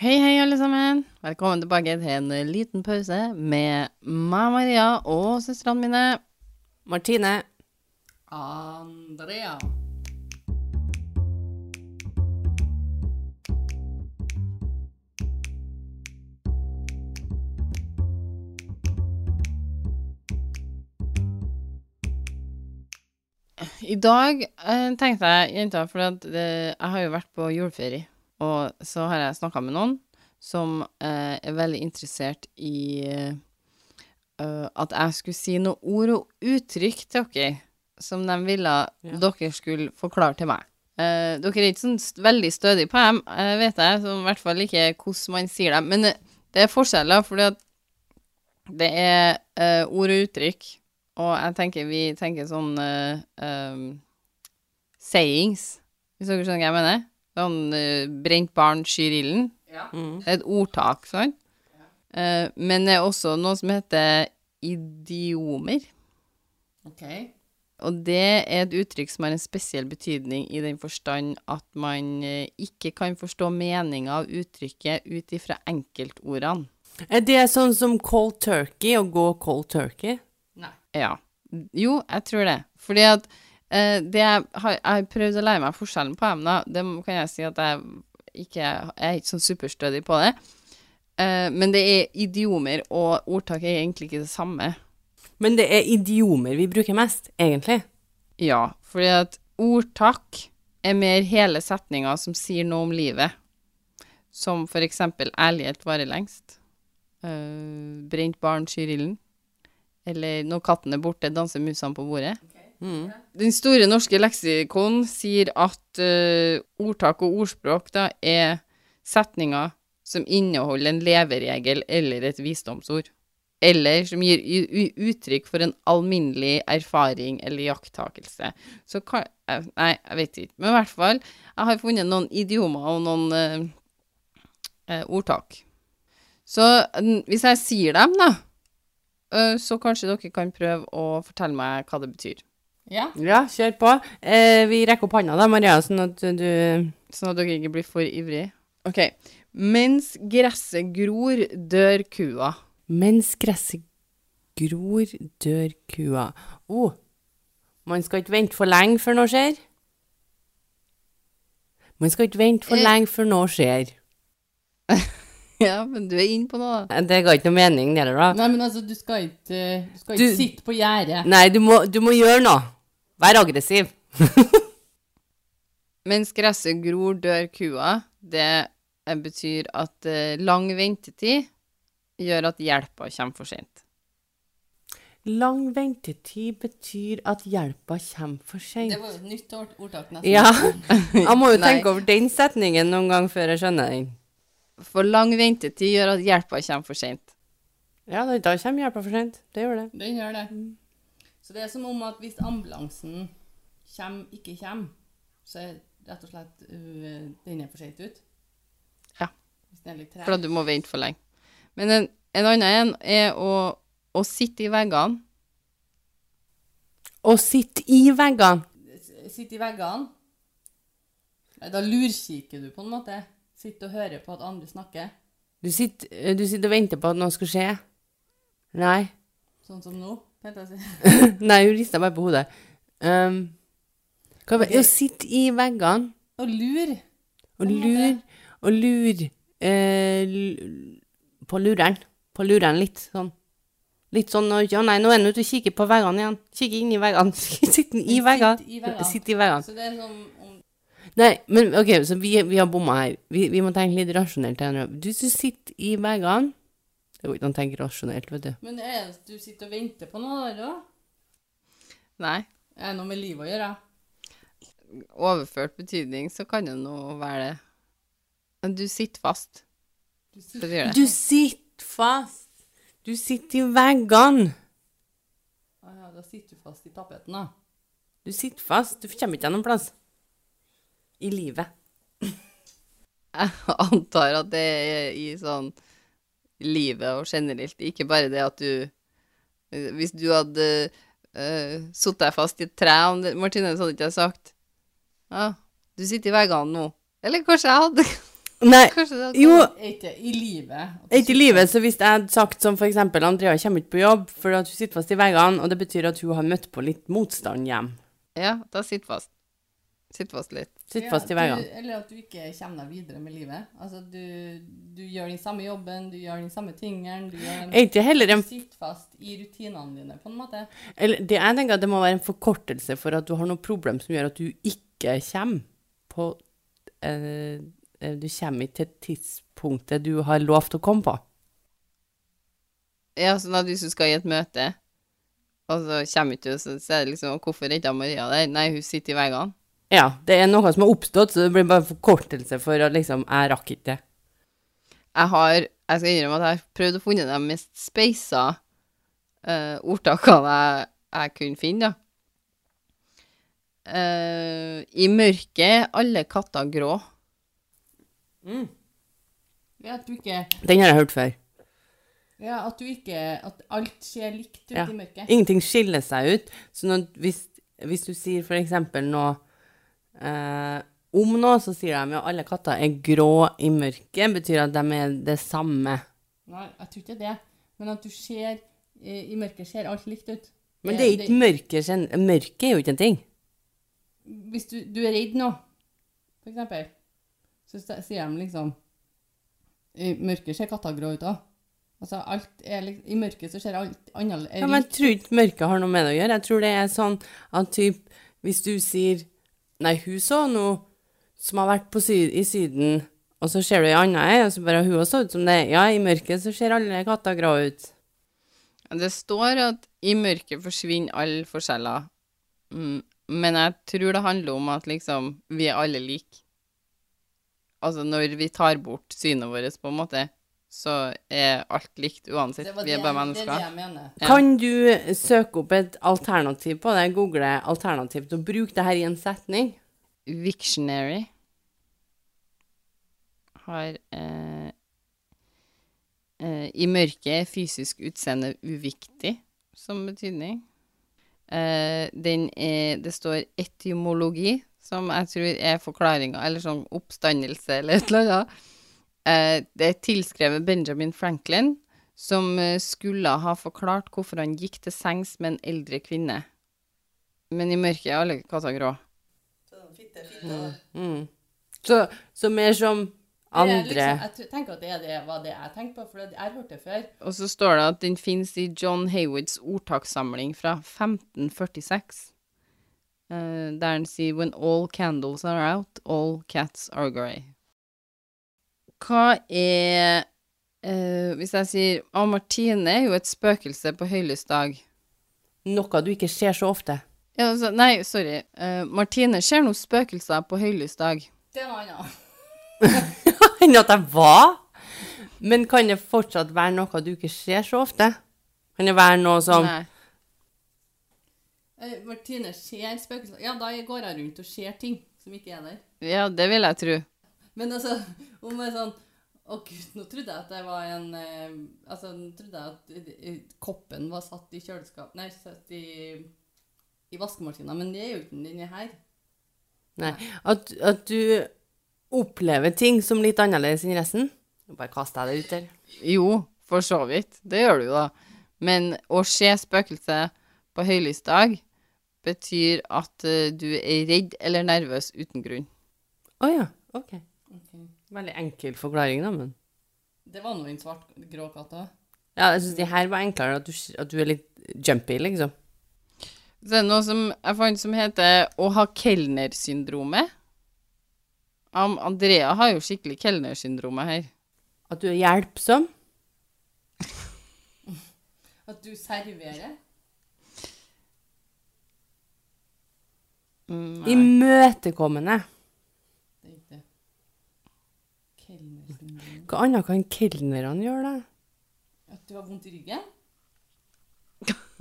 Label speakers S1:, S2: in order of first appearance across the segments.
S1: Hei, hei, alle sammen. Velkommen tilbake til en liten pause med meg, Maria, og søstrene mine.
S2: Martine.
S1: Andrea. I dag eh, tenkte jeg, jenta, for at eh, jeg har jo vært på juleferie, og så har jeg snakka med noen som eh, er veldig interessert i eh, eh, at jeg skulle si noen ord og uttrykk til dere som de ville
S2: Ja.
S1: dere skulle forklare til meg. Eh, dere er ikke sånn st veldig stødige på dem, eh, vet jeg, som i hvert fall ikke hvordan man sier dem. Men eh, det er forskjeller, fordi at det er eh, ord og uttrykk, og jeg tenker vi tenker sånn eh, eh, sayings, hvis dere skjønner hva jeg mener. Sånn eh, brent barn skyr ilden.
S2: Mm.
S1: Det er et ordtak, sant? Eh, men det er også noe som heter idiomer. Og det er et uttrykk som har en spesiell betydning i den forstand at man eh, ikke kan forstå meninga av uttrykket ut ifra enkeltordene.
S2: Er det sånn som cold turkey, å gå cold turkey?
S1: Ja. Jo, jeg tror det. Fordi at eh, det jeg har, jeg har prøvd å lære meg forskjellen på emner, det må- kan jeg si at jeg ikke jeg er ikke sånn superstødig på det. Eh, men det er idiomer, og ordtak er egentlig ikke det samme.
S2: Men det er idiomer vi bruker mest, egentlig.
S1: Ja, fordi at ordtak er mer hele setninger som sier noe om livet. Som for eksempel ærlighet varer lengst. eh, brent barn skyr ilden. Eller når katten er borte, danser musene på bordet.
S2: Mm.
S1: Den store norske leksikon sier at eh, ordtak og ordspråk da, er setninger som inneholder en leveregel eller et visdomsord, eller som gir u- u- uttrykk for en alminnelig erfaring eller iakttakelse. Så hva eh, Nei, jeg vet ikke. Men i hvert fall, jeg har funnet noen idiomer og noen eh, eh, ordtak. Så n- hvis jeg sier dem, da, eh, så kanskje dere kan prøve å fortelle meg hva det betyr. Ja.
S2: Ja, kjør på. Eh, vi rekker opp handa da, Maria, sånn at du
S1: Sånn at dere ikke blir for ivrige. Ok. Mens gresset gror, dør kua.
S2: Mens gresset gror, dør kua. Å, oh, man skal ikke vente for lenge før noe skjer. Man skal ikke vente for
S1: Eh.
S2: lenge før noe skjer.
S1: Ja, men du er inne på noe, da.
S2: Eh, Det ga ikke noe mening, det der, da.
S3: Nei, men altså, du skal ikke, du skal
S2: Du-
S3: ikke sitte på gjerdet.
S2: Nei, du må, du må gjøre noe. Vær aggressiv.
S1: Mens gresset gror, dør kua. Det eh, betyr at eh, lang ventetid gjør at hjelpa kommer for sent.
S2: Lang ventetid betyr at hjelpa kommer for seint.
S3: var jo et nytt ordtak, nesten.
S2: Ja, jeg må jo
S1: Nei.
S2: tenke over den setningen noen gang før jeg skjønner den.
S1: For lang ventetid gjør at hjelpa kommer for sent.
S2: Ja, da, da kommer hjelpa for seint. Det gjør det.
S3: Den gjør det.
S1: Mm.
S3: Så det er som om at hvis ambulansen kommer, ikke kommer, så er rett og slett øh, den er for sent ut.
S1: Ja.
S3: Hvis den er litt
S1: For
S3: treg.
S1: at du må vente for lenge. Men en, en annen en er å, å sitte i veggene.
S2: Å sitte i veggene.
S3: Sitte i veggene. Nei, da lurkikker du på en måte. Sitter og hører på at andre snakker.
S2: Du sitter, eh, du sitter og venter på at noe skal skje. Nei.
S3: Sånn som nå. tenkte jeg å si.
S2: Nei, hun rista bare på hodet. Um, hva var
S3: Ok.
S2: Å sitte i veggene
S3: Og lur.
S2: og lure Og lure eh, l- På lureren. På lureren litt sånn. Litt sånn og, Ja, nei, nå er han ute og kikker på veggene igjen. Kikker inn i veggene. Sitter han i
S3: Sitter i
S2: veggene?
S3: veggene.
S2: Sitter i veggene.
S3: Så det er som om
S2: Nei, men ok, så vi, vi har bomma her. Vi, vi må tenke litt rasjonelt. her nå. Du, du sitter i veggene Det går ikke an å tenke rasjonelt, vet du.
S3: Men er det at du sitter og venter på noe der òg?
S1: Nei.
S3: Er det noe med livet å gjøre?
S1: Overført betydning så kan det nå være det. Men du sitter fast.
S3: Du
S1: Det
S3: sitter
S1: gjør det.
S2: Du sitter fast. Du sitter i veggene.
S3: Ah, ja, da sitter du fast i tapeten, da.
S2: Du sitter fast. Du kommer ikke deg noen plass. I livet.
S1: Jeg antar at det er i sånn livet og generelt, ikke bare det at du Hvis du hadde uh, satt deg fast i et tre om det- Martine, så hadde ikke jeg sagt Ja, du sitter i veggene nå. Eller kanskje jeg hadde
S2: Nei,
S1: Kanskje det er sånn-
S2: jo,
S3: Er ikke i livet. at du
S2: ikke i livet, så hvis jeg hadde sagt som for eksempel, Andrea kommer ikke på jobb, for at hun sitter fast i veggene, og det betyr at hun har møtt på litt motstand hjem.
S1: Ja, da sitter fast. Sitter fast litt.
S2: Sitter
S3: Ja,
S2: fast i
S3: du-
S2: veggene.
S3: Eller at du ikke kommer deg videre med livet. Altså, du, du gjør den samme jobben, du gjør den samme tingen, du gjør den
S2: Er ikke heller en
S3: Du sitter fast i rutinene dine, på en måte.
S2: Eller det jeg tenker at det må være en forkortelse for at du har noe problem som gjør at du ikke kommer på eh, eh, Du kommer ikke til tidspunktet du har lovt å komme på.
S1: Ja, sånn at hvis du skal i et møte, og så kommer ikke du, så så er det liksom Hvorfor er ikke Maria der? Nei, hun sitter i veggene.
S2: Ja, det er noe som har oppstått, så det blir bare en forkortelse for at liksom Jeg rakk ikke det.
S1: Jeg har Jeg skal innrømme at jeg har prøvd å finne de mest speisa eh, ordtakene jeg, jeg kunne finne, da. Eh, I mørket er alle katter grå.
S3: Ja, at du ikke,
S2: Den har jeg hørt før.
S3: ja, at, du ikke at alt skjer likt ute
S2: Ja.
S3: i mørket.
S2: Ingenting skiller seg ut. Så når, hvis, hvis du sier for eksempel noe eh, om noe, så sier de jo alle katter er grå i mørket, betyr at de er det samme.
S3: Nei, jeg tror ikke det. Men at du ser eh, I mørket ser alt likt ut. Eh,
S2: Men det er ikke mørket gen- Mørket er jo ikke en ting.
S3: Hvis du, du er redd nå, for eksempel, så s- sier de liksom I mørket ser katta grå ut òg. Altså, alt er liksom I mørket så ser alt annerledes
S2: Ja, men jeg tror ikke mørket har noe med det å gjøre. Jeg tror det er sånn at typ, hvis du sier Nei, hun så noe som har vært på sy i Syden, og så ser du ei anna ei, og så bare hun også ut som det. Ja, i mørket så ser alle katter grå ut.
S1: Men Det står at i mørket forsvinner alle forskjeller. Mm, men jeg tror det handler om at liksom, vi er alle like. Altså når vi tar bort synet vårt, på en måte, så er alt likt uansett.
S3: Det var
S1: Vi er
S3: det-
S1: bare
S3: Det er det
S1: mennesker.
S3: jeg mener.
S1: Ja.
S2: Kan du søke opp et alternativ på det? Google alternativt og bruk det her i en setning.
S1: Victionary har eh, eh, I mørket er fysisk utseende uviktig som betydning. Eh, den er Det står etymologi, som jeg tror er forklaringa, eller sånn oppstandelse eller et eller annet. Eh, det tilskrever Benjamin Franklin, som eh, skulle ha forklart hvorfor han gikk til sengs med en eldre kvinne. Men i mørket er alle katter grå.
S2: Mm. Så, så mer som
S3: Det er
S2: andre
S3: Liksom, jeg tr- tenker at det er det, var det jeg tenkte på, for det- jeg hørte det før.
S1: Og så står det at den finnes i John Haywoods ordtakssamling fra 1546, eh, der han sier «When all candles are out, all cats are grey». Hva er eh, Hvis jeg sier «Å, Martine er jo et spøkelse på høylysdag».
S2: noe du ikke ser så ofte.
S1: Ja, altså, nei, sorry. Eh, Martine ser noen spøkelser på høylysdag.
S3: Det er noe annet.
S2: enn at jeg var. Men kan det fortsatt være noe du ikke ser så ofte? Kan det være noe som
S3: Sånn.
S1: Nei.
S3: Eh, Martine ser spøkelser Ja, da går jeg rundt og ser ting som ikke er der.
S1: Ja, det vil jeg tro.
S3: Men altså, om jeg er sånn Å, gud, nå trodde jeg at det var en eh, Altså, nå trodde jeg at eh, eh, koppen var satt i kjøleskap Nei, satt i, i vaskemaskina, men det er jo ikke den. Den er her.
S2: Nei. At, at du opplever ting som litt annerledes enn resten? Nå bare kaster jeg det ut der.
S1: Jo, for så vidt. Det gjør du jo, da. Men å se spøkelse på høylysdag betyr at eh, du er redd eller nervøs uten grunn.
S2: Å ja. Ok.
S3: Ok.
S2: Veldig enkel forklaring, da, men
S3: Det var nå en svart grå katt òg.
S2: Ja, jeg syns det her var enklere, at du, at du er litt jumpy, liksom.
S1: Så er det noe som jeg fant som heter å ha kelnersyndromet. Am- Andrea har jo skikkelig kelnersyndromet her.
S2: At du er hjelpsom.
S3: At du serverer.
S1: Mm, nei.
S2: Imøtekommende.
S3: Det er ikke det. Kelnersyndrom.
S2: Hva annet kan kelnerne gjøre, da?
S3: At du har vondt i ryggen?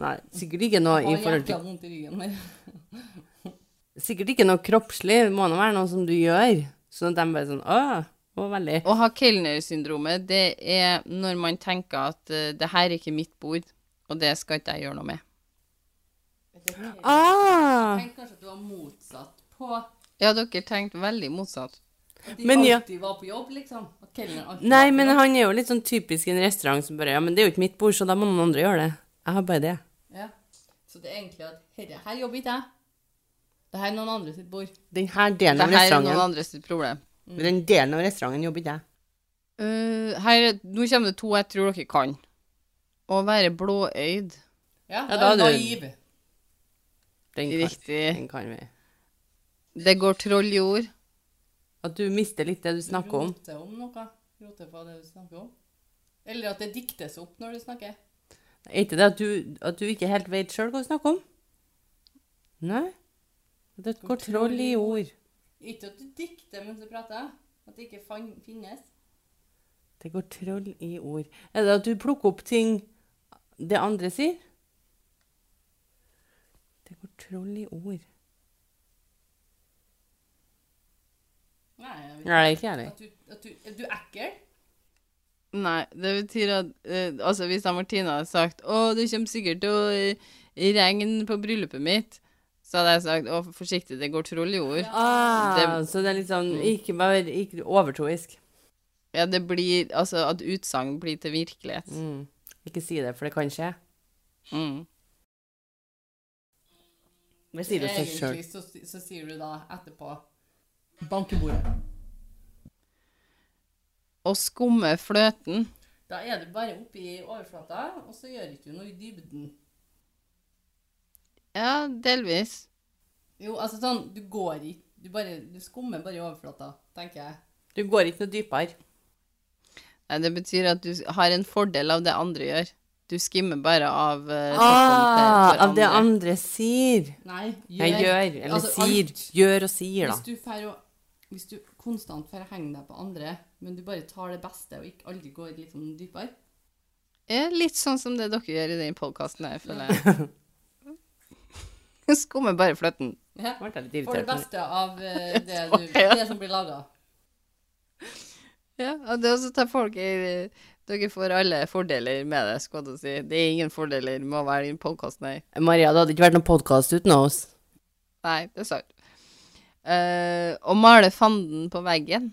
S2: Nei, sikkert ikke noe i
S3: Har
S2: forhold til
S3: jækla vondt i ryggen. men-
S2: Sikkert ikke noe kroppslig, det må nå være noe som du gjør. Sånn at de bare sånn Å, å veldig.
S1: Å ha kelnersyndromet, det er når man tenker at eh, det her er ikke mitt bord, og det skal ikke jeg gjøre noe med.
S2: Ah!
S3: Tenk kanskje at du var motsatt på
S1: Ja, dere tenkte veldig motsatt.
S3: At de
S2: Men ja.
S3: alltid var på jobb, liksom. At kelneren alltid
S2: Nei,
S3: var på
S2: men
S3: jobb.
S2: han er jo litt sånn typisk i en restaurant som bare Ja, men det er jo ikke mitt bord, så da må noen andre gjøre det. Jeg har bare det.
S3: Ja. Så det er egentlig at herre, her jobber ikke jeg. Det her er noen andre sitt bord.
S2: Den her delen
S1: Det
S2: av
S1: her er noen
S2: restauranten
S1: andres problem.
S2: Den delen av restauranten jobber ikke jeg.
S1: Eh, her, nå kommer det to jeg tror dere kan. Å være blåøyd.
S3: Ja,
S2: Ja,
S3: da er
S2: da
S3: du
S2: er du-
S3: naiv.
S2: Den kan,
S1: Riktig.
S2: den kan vi.
S1: Det går troll jord.
S2: At du mister litt det du snakker om.
S3: Roter om noe. Roter på det du snakker om. Eller at det diktes opp når du snakker.
S2: Er ikke det at du, at du ikke helt vet sjøl hva du snakker om? Nei. Det går troll i ord.
S3: Ikke at du dikter mens du prater. At det ikke fan finnes.
S2: Det går troll i ord. Er det at du plukker opp ting det andre sier? Det går troll i ord.
S3: Nei, jeg vet ikke.
S2: Nei, det er ikke jeg heller.
S3: At du, at du, er du ekkel?
S1: Nei, det betyr at eh, Altså, hvis da Martina hadde sagt 'Å, det kommer sikkert til å eh, regne på bryllupet mitt', så hadde jeg sagt 'Å, forsiktig, det går troll jord'.
S2: Ah,
S1: Det-
S2: så det er litt sånn ikke, bare, ikke overtroisk.
S1: Ja, det blir Altså, at utsagn blir til virkelighet.
S2: Mm. Ikke si det, for det kan skje.
S1: Mm.
S2: Men si det til deg sjøl.
S3: Egentlig så, så sier du da etterpå Bankebordet.
S1: Å skumme fløten.
S3: Da er du bare oppe i overflata, og så gjør ikke du noe i dybden.
S1: Ja, delvis.
S3: Jo, altså sånn, du går ikke Du, bare, du skummer bare i overflata, tenker jeg.
S2: Du går ikke noe dypere.
S1: Nei, det betyr at du har en fordel av det andre gjør. Du skimmer bare av eh,
S2: Ah,
S1: toppen til
S2: av det
S1: hverandre.
S2: andre sier.
S3: Nei, gjør.
S2: Jeg gjør, eller
S3: Altså,
S2: sier.
S3: alt.
S2: Gjør og sier,
S3: Hvis
S2: da.
S3: du, fer å, hvis du konstant får henge deg på andre, men du bare tar det beste og ikke aldri går liksom dypere
S1: Ja, litt sånn som det dere gjør i den podkasten her, føler jeg. Skummer bare fløten.
S3: ja.
S2: Ble jeg litt
S3: Får det
S2: irritert. nå.
S3: beste av eh, det, du,
S1: Ok, ja.
S3: det som blir laga.
S1: Ja, og det er også tar folk i Dere får alle fordeler med det, skal jeg si. Det er ingen fordeler med å være i podkasten her.
S2: Maria, det hadde ikke vært noen podkast uten oss.
S1: Nei, det er sant. Eh, å male fanden på veggen.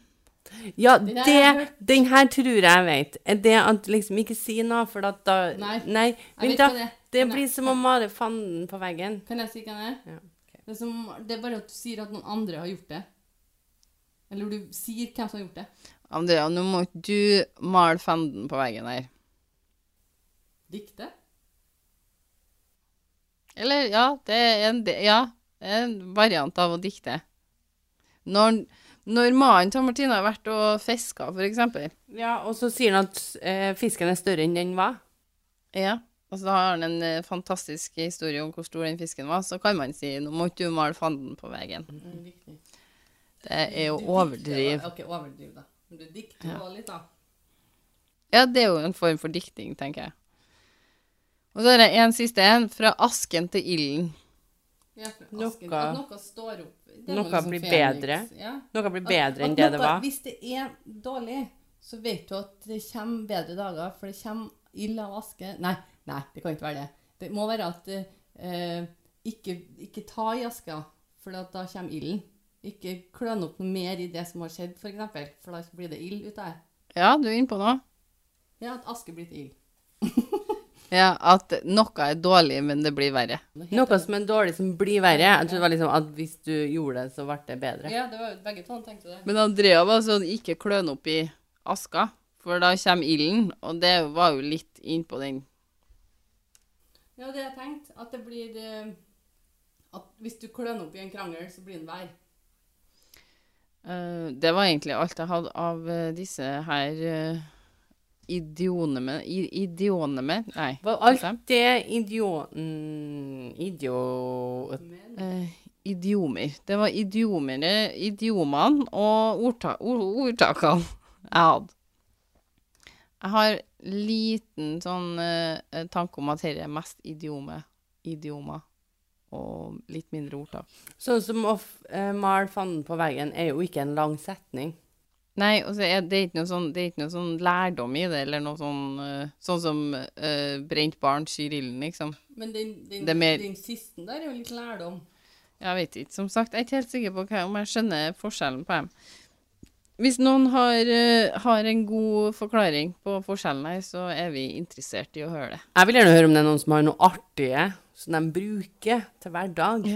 S2: Ja,
S3: Den har jeg
S2: det, den her tror jeg vet. Er det at liksom ikke si noe, for at da
S3: Nei.
S2: vent,
S3: vet
S2: da.
S3: hva det er.
S2: Det,
S3: Nei.
S2: blir som å male fanden på veggen.
S3: Kan jeg si hva det er?
S2: Ja.
S3: Det er, som, det er bare at du sier at noen andre har gjort det. Eller du sier hvem som har gjort det.
S1: Andrea, nå må ikke du male fanden på veggen her.
S3: Dikte?
S1: Eller, ja, det er en, de- ja, det er en variant av å dikte. Når, når mannen til Martine har vært og fiska, for eksempel.
S2: Ja, og så sier han at eh, fisken er større enn den var.
S1: Ja, og så har han en eh, fantastisk historie om hvor stor den fisken var, så kan man si nå må ikke du male fanden på veggen.
S3: Virkelig.
S1: Det er jo
S3: Mm, Du dikter,
S1: overdriv.
S3: da. Ok, overdriv, da. Men du dikter
S1: Ja.
S3: også litt, da.
S1: Ja, det er jo en form for dikting, tenker jeg. Og så er det en siste en, fra asken til ilden.
S3: Ja, for
S2: Noe-
S3: asken, at noe står opp. Det er
S2: noe
S3: liksom
S2: blir
S3: Phoenix,
S2: bedre.
S3: Ja.
S2: Noe blir
S3: At-
S2: bedre enn
S3: at
S2: det
S3: noe-
S2: det var.
S3: Hvis det er dårlig, så vet du at det kommer bedre dager, for det kommer ild av aske. Nei, nei, det kan ikke være det. Det må være at eh, ikke, ikke ta i aska, for at da kommer ilden. Ikke kløn opp noe mer i det som har skjedd, for eksempel, for da blir det ild ut der.
S1: Ja, du er inne på noe.
S3: Ja, at aske blir til ild.
S1: Ja, at noe er dårlig, men det blir verre.
S2: Noe som er dårlig, som blir verre. Jeg tror det var liksom at hvis du gjorde det, så ble det bedre.
S3: Ja, det var jo begge to, tenkte det.
S1: Men Andrea var sånn, ikke kløn opp i aska, for da kommer ilden, og det var jo litt innpå den.
S3: Ja, det har jeg tenkt. At det blir eh, At hvis du kløner opp i en krangel, så blir den vær.
S1: Eh, det var egentlig alt jeg hadde av eh, disse her uh, idionene Idionene? Nei.
S2: Var alt det idio... mm, Idio...
S3: Men
S1: Eh, idiomer. Det var idiomene, idiomene og ordta, ord, ordtakene jeg hadde. Jeg har liten sånn eh, tanke om at dette er mest idiome, idiomer, og litt mindre ordtak.
S2: Sånn som å f- eh, male fanden på veggen er jo ikke en lang setning.
S1: Nei, og så er det ikke noe sånn, det er ikke noe sånn lærdom i det, eller noe sånn, eh, sånn som eh, brent barn skyr ilden, liksom.
S3: Men den, den,
S1: Det er mer-
S3: den siste der er jo litt lærdom.
S1: Jeg vet ikke, som sagt, jeg er ikke helt sikker på hva, om jeg skjønner forskjellen på dem. Hvis noen har, eh, har en god forklaring på forskjellen her, så er vi interessert i å høre det.
S2: Jeg vil gjerne høre om det er noen som har noe artige som de bruker til hver dag.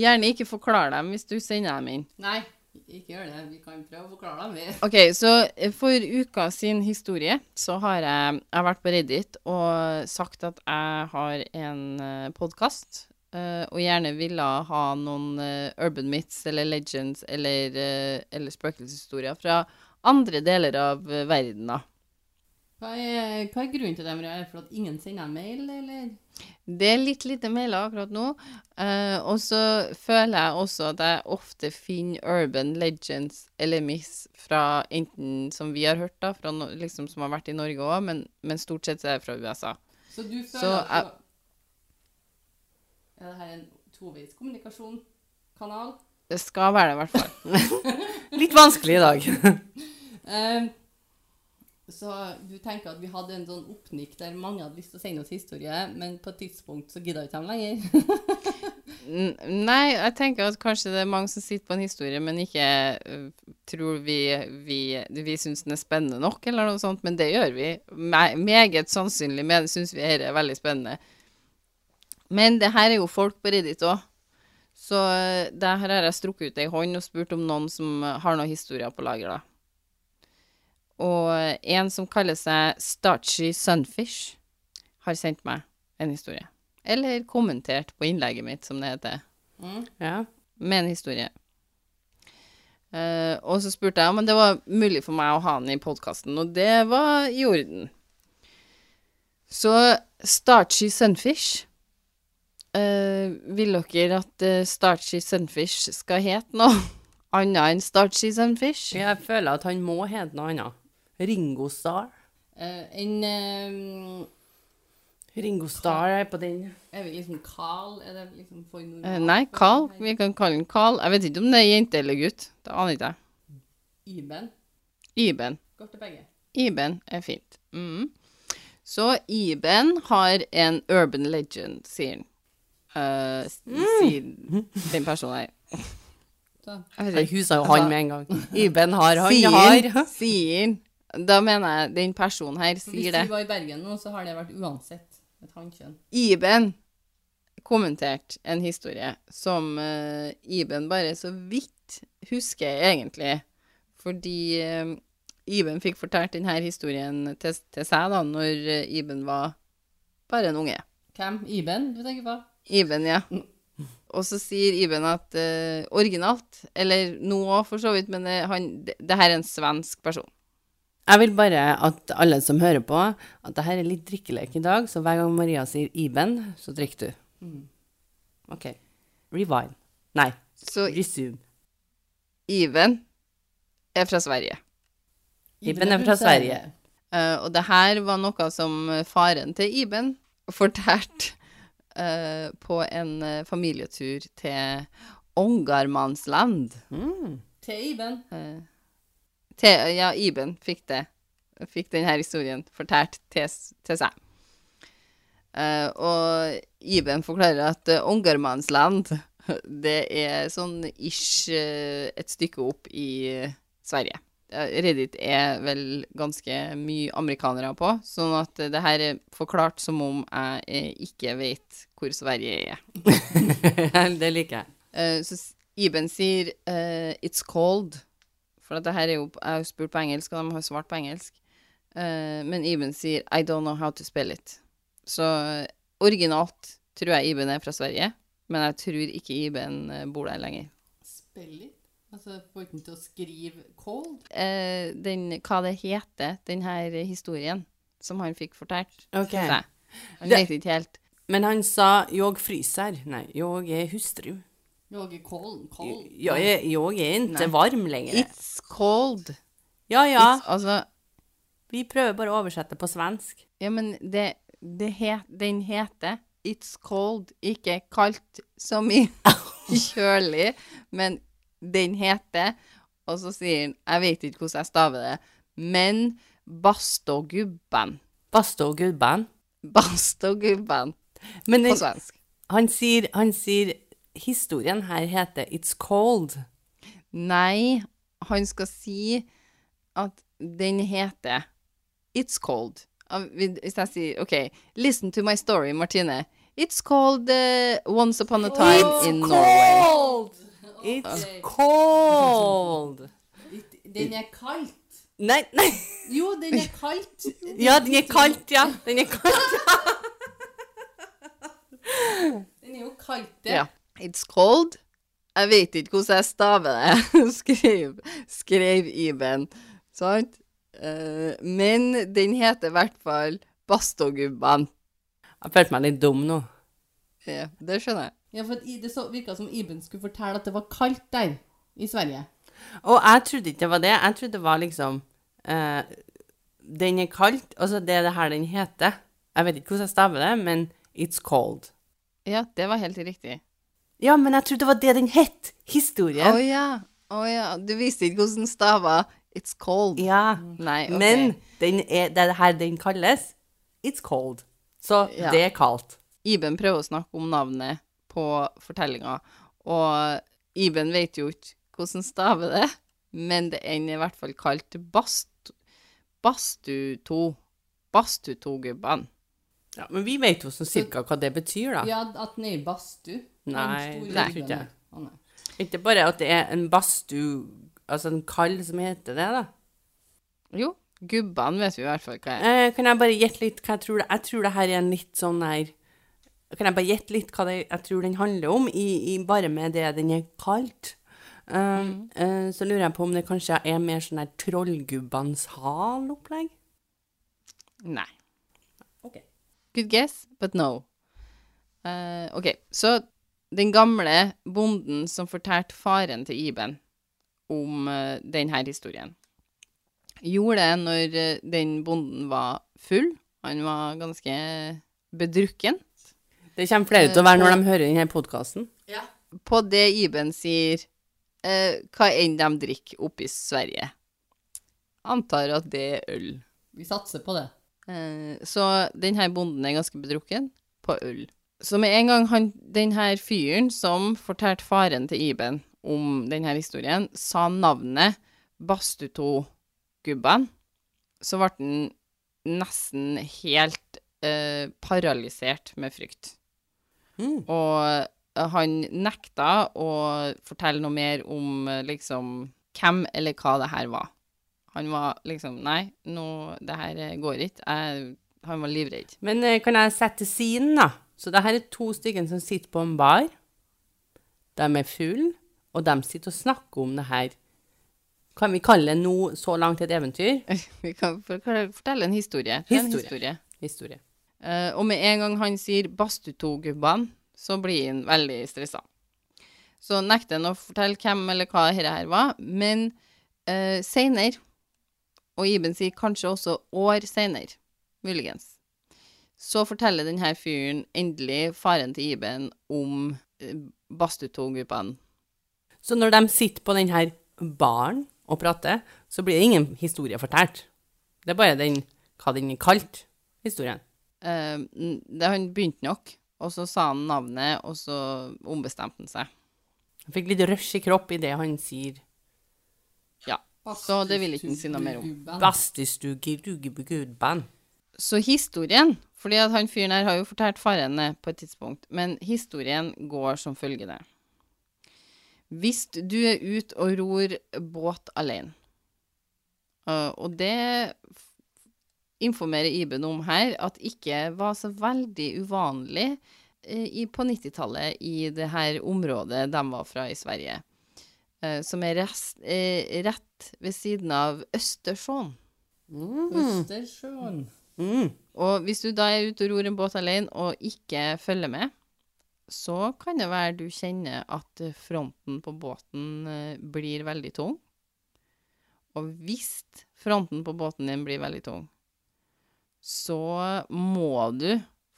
S1: Gjerne ikke forklar dem hvis du sender dem inn.
S3: Nei, ikke gjør det. Vi kan prøve å forklare dem, vi.
S1: Ok, så eh, for uka sin historie så har jeg, jeg har vært på Reddit og sagt at jeg har en podkast, og gjerne ville ha noen eh, urban myths eller legends eller, eh, eller spøkelseshistorier fra andre deler av eh, verden. da.
S3: Hva er, hva er grunnen til det? Maria? Er det for at ingen sender mail, eller?
S1: Det er litt lite mailer akkurat nå. eh, og så føler jeg også at jeg ofte finner urban legends eller miss fra enten som vi har hørt, da, fra no, liksom som har vært i Norge òg, men, men stort sett så er det fra USA.
S3: Så du føler
S1: Så
S3: at du... Er det her en toveiskommunikasjon? Kanal?
S1: Det skal være det, i hvert fall.
S2: Litt vanskelig i dag.
S3: Eh, så du tenker at vi hadde en sånn oppnikk der mange hadde lyst til å sende oss historie, men på et tidspunkt så gidda ikke de lenger.
S1: N nei, jeg tenker at kanskje det er mange som sitter på en historie, men ikke eh, tror vi vi, vi syns den er spennende nok, eller noe sånt. Men det gjør vi. Me meget sannsynlig men syns vi dette er veldig spennende. Men det her er jo folk på Reddit òg. Så eh, det her har jeg strukket ut ei hånd og spurt om noen som eh, har noen historier på lager, da. Og eh, en som kaller seg Starchy Sunfish, har sendt meg en historie. Eller kommentert på innlegget mitt, som det heter
S3: Mm.
S2: Ja.
S1: med en historie. Eh, og så spurte jeg om det var mulig for meg å ha den i podkasten, og det var i orden. Så Starchy Sunfish eh, Vil dere at eh, Starchy Sunfish skal hete noe annet enn Starchy Sunfish?
S2: Jeg føler at han må hete noe annet. Ringo Starr.
S3: Eh, en eh,
S2: Ringo Starr er på den.
S3: Er vi liksom Carl? Er det liksom for noen
S1: Eh, nei, Carl. Vi kan kalle den Carl. Jeg vet ikke om det er jente eller gutt. Det aner ikke jeg.
S3: Iben.
S1: Iben.
S3: Går til begge.
S1: Iben er fint. Mm. Så Iben har en urban legend, sier han. Eh, s- Sier den personen her.
S3: Så.
S1: Jeg
S2: Nei,
S1: vet ikke.
S2: Hun sa jo han med en gang. Altså, Iben har han,
S1: Sier
S2: har.
S1: han, sier han. Da mener jeg den personen her
S3: Hvis
S1: sier
S3: vi
S1: det.
S3: var i Bergen nå, så har det vært uansett et hannkjønn.
S1: Iben kommenterte en historie som eh, Iben bare så vidt husker, egentlig. Fordi eh, Iben fikk fortalt denne historien til, til seg da, når eh, Iben var bare en unge.
S3: Hvem? Iben du tenker på?
S1: Iben, ja. Og så sier Iben at eh, originalt, eller nå òg for så vidt, men det, han, det, det her er en svensk person.
S2: Jeg vil bare at alle som hører på, at det her er litt drikkelek i dag, så hver gang Maria sier Iben, så drikker du. OK. Rewind. Nei,
S1: Så
S2: resume.
S1: Iben er fra Sverige.
S2: Iben er fra Sverige.
S1: Eh, og det her var noe som eh, faren til Iben fortalte eh, på en eh, familietur til Ångarmannsland.
S3: Til Iben.
S1: Eh, til, ja, Iben fikk det. Fikk denne historien fortalt til, s- til seg. Eh, og Iben forklarer at eh, Ångermannsland, det er sånn ish eh, et stykke opp i eh, Sverige. Eh, Reddit er vel ganske mye amerikanere på, sånn at eh, det her er forklart som om jeg eh, ikke vet hvor Sverige er.
S2: det liker jeg.
S1: Eh, så s- Iben sier eh, 'it's cold'. For at det her er jo, jeg har jo spurt på engelsk, og de har svart på engelsk. Eh, men Iben sier 'I don't know how to spell it'. Så eh, originalt tror jeg Iben er fra Sverige, men jeg tror ikke Iben eh, bor der lenger.
S3: Spill litt. Altså, får ikke den til å skrive cold.
S1: Eh, den, hva det heter, den her historien som han fikk fortalt
S2: Ok.
S1: til seg. Han
S2: Det-
S1: vet ikke helt.
S2: Men han sa 'jeg fryser'. Nei, 'jeg er hustru'.
S3: Noe cold. Cold.
S2: Jeg, er- jeg er ikke varm lenger.
S1: It's cold.
S2: Ja ja,
S1: It's, altså,
S2: vi prøver bare å oversette på svensk.
S1: Ja, men det, det het, den heter It's cold, ikke kaldt som i kjølig, men den heter Og så sier han Jeg vet ikke hvordan jeg staver det, men Bastogubben.
S2: Basta og gubben.
S1: Bastogubben
S2: Men
S1: på
S2: den,
S1: svensk.
S2: han, sier, han sier historien her heter 'It's Cold'.
S1: Nei, han skal si at den heter It's Cold. Av- Hvis jeg sier OK, listen to my story, Martine. It's called eh, Once Upon a Time in Norway.
S2: Cold! It's cold!
S3: Den er kaldt.
S2: Nei, nei.
S3: Jo, den er kaldt.
S2: Ja, den er kaldt, ja. Den er kaldt.
S3: Den er jo kaldt, det.
S1: Ja. It's cold. Jeg vet ikke hvordan jeg staver det, skrev, skrev Iben. Sant? Eh, men den heter i hvert fall Bastogubban.
S2: Jeg følte meg litt dum nå.
S1: Ja, det skjønner jeg.
S3: Ja, for at i- det så, virka som Iben skulle fortelle at det var kaldt der i Sverige.
S2: Og jeg trodde ikke det var det. Jeg trodde det var liksom eh, Den er kaldt. Altså, det er det her den heter. Jeg vet ikke hvordan jeg staver det, men it's cold.
S1: Ja, det var helt riktig.
S2: Ja, men jeg trodde det var det den het.
S1: Å
S2: Historien.
S1: ja. å ja. Du visste ikke hvordan stava It's cold.
S2: Ja.
S1: Nei, ok.
S2: Men den er, det er det her den kalles. It's cold. Så
S1: Ja.
S2: det er kaldt.
S1: Iben prøver å snakke om navnet på fortellinga, og Iben vet jo ikke hvordan stave det, men det ender i hvert fall kalt bast, Bastuto. Bastutogubben.
S2: Ja, men vi vet jo sånn cirka hva det betyr, da.
S3: Ja, at den er i badstue. Den
S2: Nei, det
S3: store
S2: tror
S3: Iben
S2: ikke jeg.
S3: der. Å, nei.
S2: Ikke bare at det er en badstue Altså en kall som heter det, da.
S1: Jo, gubben vet vi i hvert fall hva er.
S2: Eh, kan jeg bare gjette litt hva jeg tror det Jeg tror det her er en litt sånn her Kan jeg bare gjette litt hva det, jeg tror den handler om, i, i bare med det den er kalt? Eh, eh, så lurer jeg på om det kanskje er mer sånn der Trollgubbans hal-opplegg?
S1: Nei.
S2: Ok.
S1: Good guess, but no. Eh, ok, så den gamle bonden som fortalte faren til Iben om eh, denne historien, gjorde det når eh, den bonden var full. Han var ganske bedrukken.
S2: Det kommer flere til å være når de hører denne podkasten.
S1: På det Iben sier eh, hva enn de drikker oppe i Sverige. Antar at det er øl.
S3: Vi satser på det.
S1: Eh, Så denne bonden er ganske bedrukken på øl. Så med en gang han, denne fyren som fortalte faren til Iben om denne historien, sa navnet Bastuto-gubben, så ble han nesten helt eh, paralysert med frykt.
S2: Mm.
S1: Og eh, han nekta å fortelle noe mer om eh, liksom hvem eller hva det her var. Han var liksom Nei, nå, det her eh, går ikke. Jeg, han var livredd.
S2: Men eh, kan jeg sette scenen, da? Så det her er to stykker som sitter på en bar. De er full, og de sitter og snakker om det her. Kan vi kalle det nå så langt et eventyr?
S1: Vi kan for- for- fortelle en historie. Det er En
S2: Historie.
S1: historie.
S2: Historie.
S1: Eh, og med en gang han sier Bastuto-gubben, så blir han veldig stressa. Så nekter han å fortelle hvem eller hva dette her var, men uh, seinere Og Iben sier kanskje også år seinere, muligens. Så forteller denne fyren endelig faren til Iben om eh, Bastuto-gubben.
S2: Så når de sitter på denne baren og prater, så blir det ingen historie fortalt. Det er bare den, hva den er kalt, historien.
S1: Eh, n- det, han begynte nok, og så sa han navnet, og så ombestemte han seg.
S2: Jeg fikk litt rush i kropp i det han sier
S1: Ja. Så det vil ikke han si noe mer om.
S3: Gubben.
S2: Bastestugi rugebugudband.
S1: Så historien Fordi at han fyren her har jo fortalt faren det på et tidspunkt, men historien går som følgende. Hvis du er ute og ror båt alene, øh, og det f- informerer Iben om her at ikke var så veldig uvanlig eh, i, på 90-tallet i det her området de var fra i Sverige, eh, som er rest, eh, rett ved siden av Østersjøen.
S3: Mm.
S2: Mhm.
S3: Østersjøen.
S2: Mm.
S1: Og hvis du da er ute og ror en båt alene og ikke følger med, så kan det være du kjenner at fronten på båten eh, blir veldig tung. Og hvis fronten på båten din blir veldig tung, så må du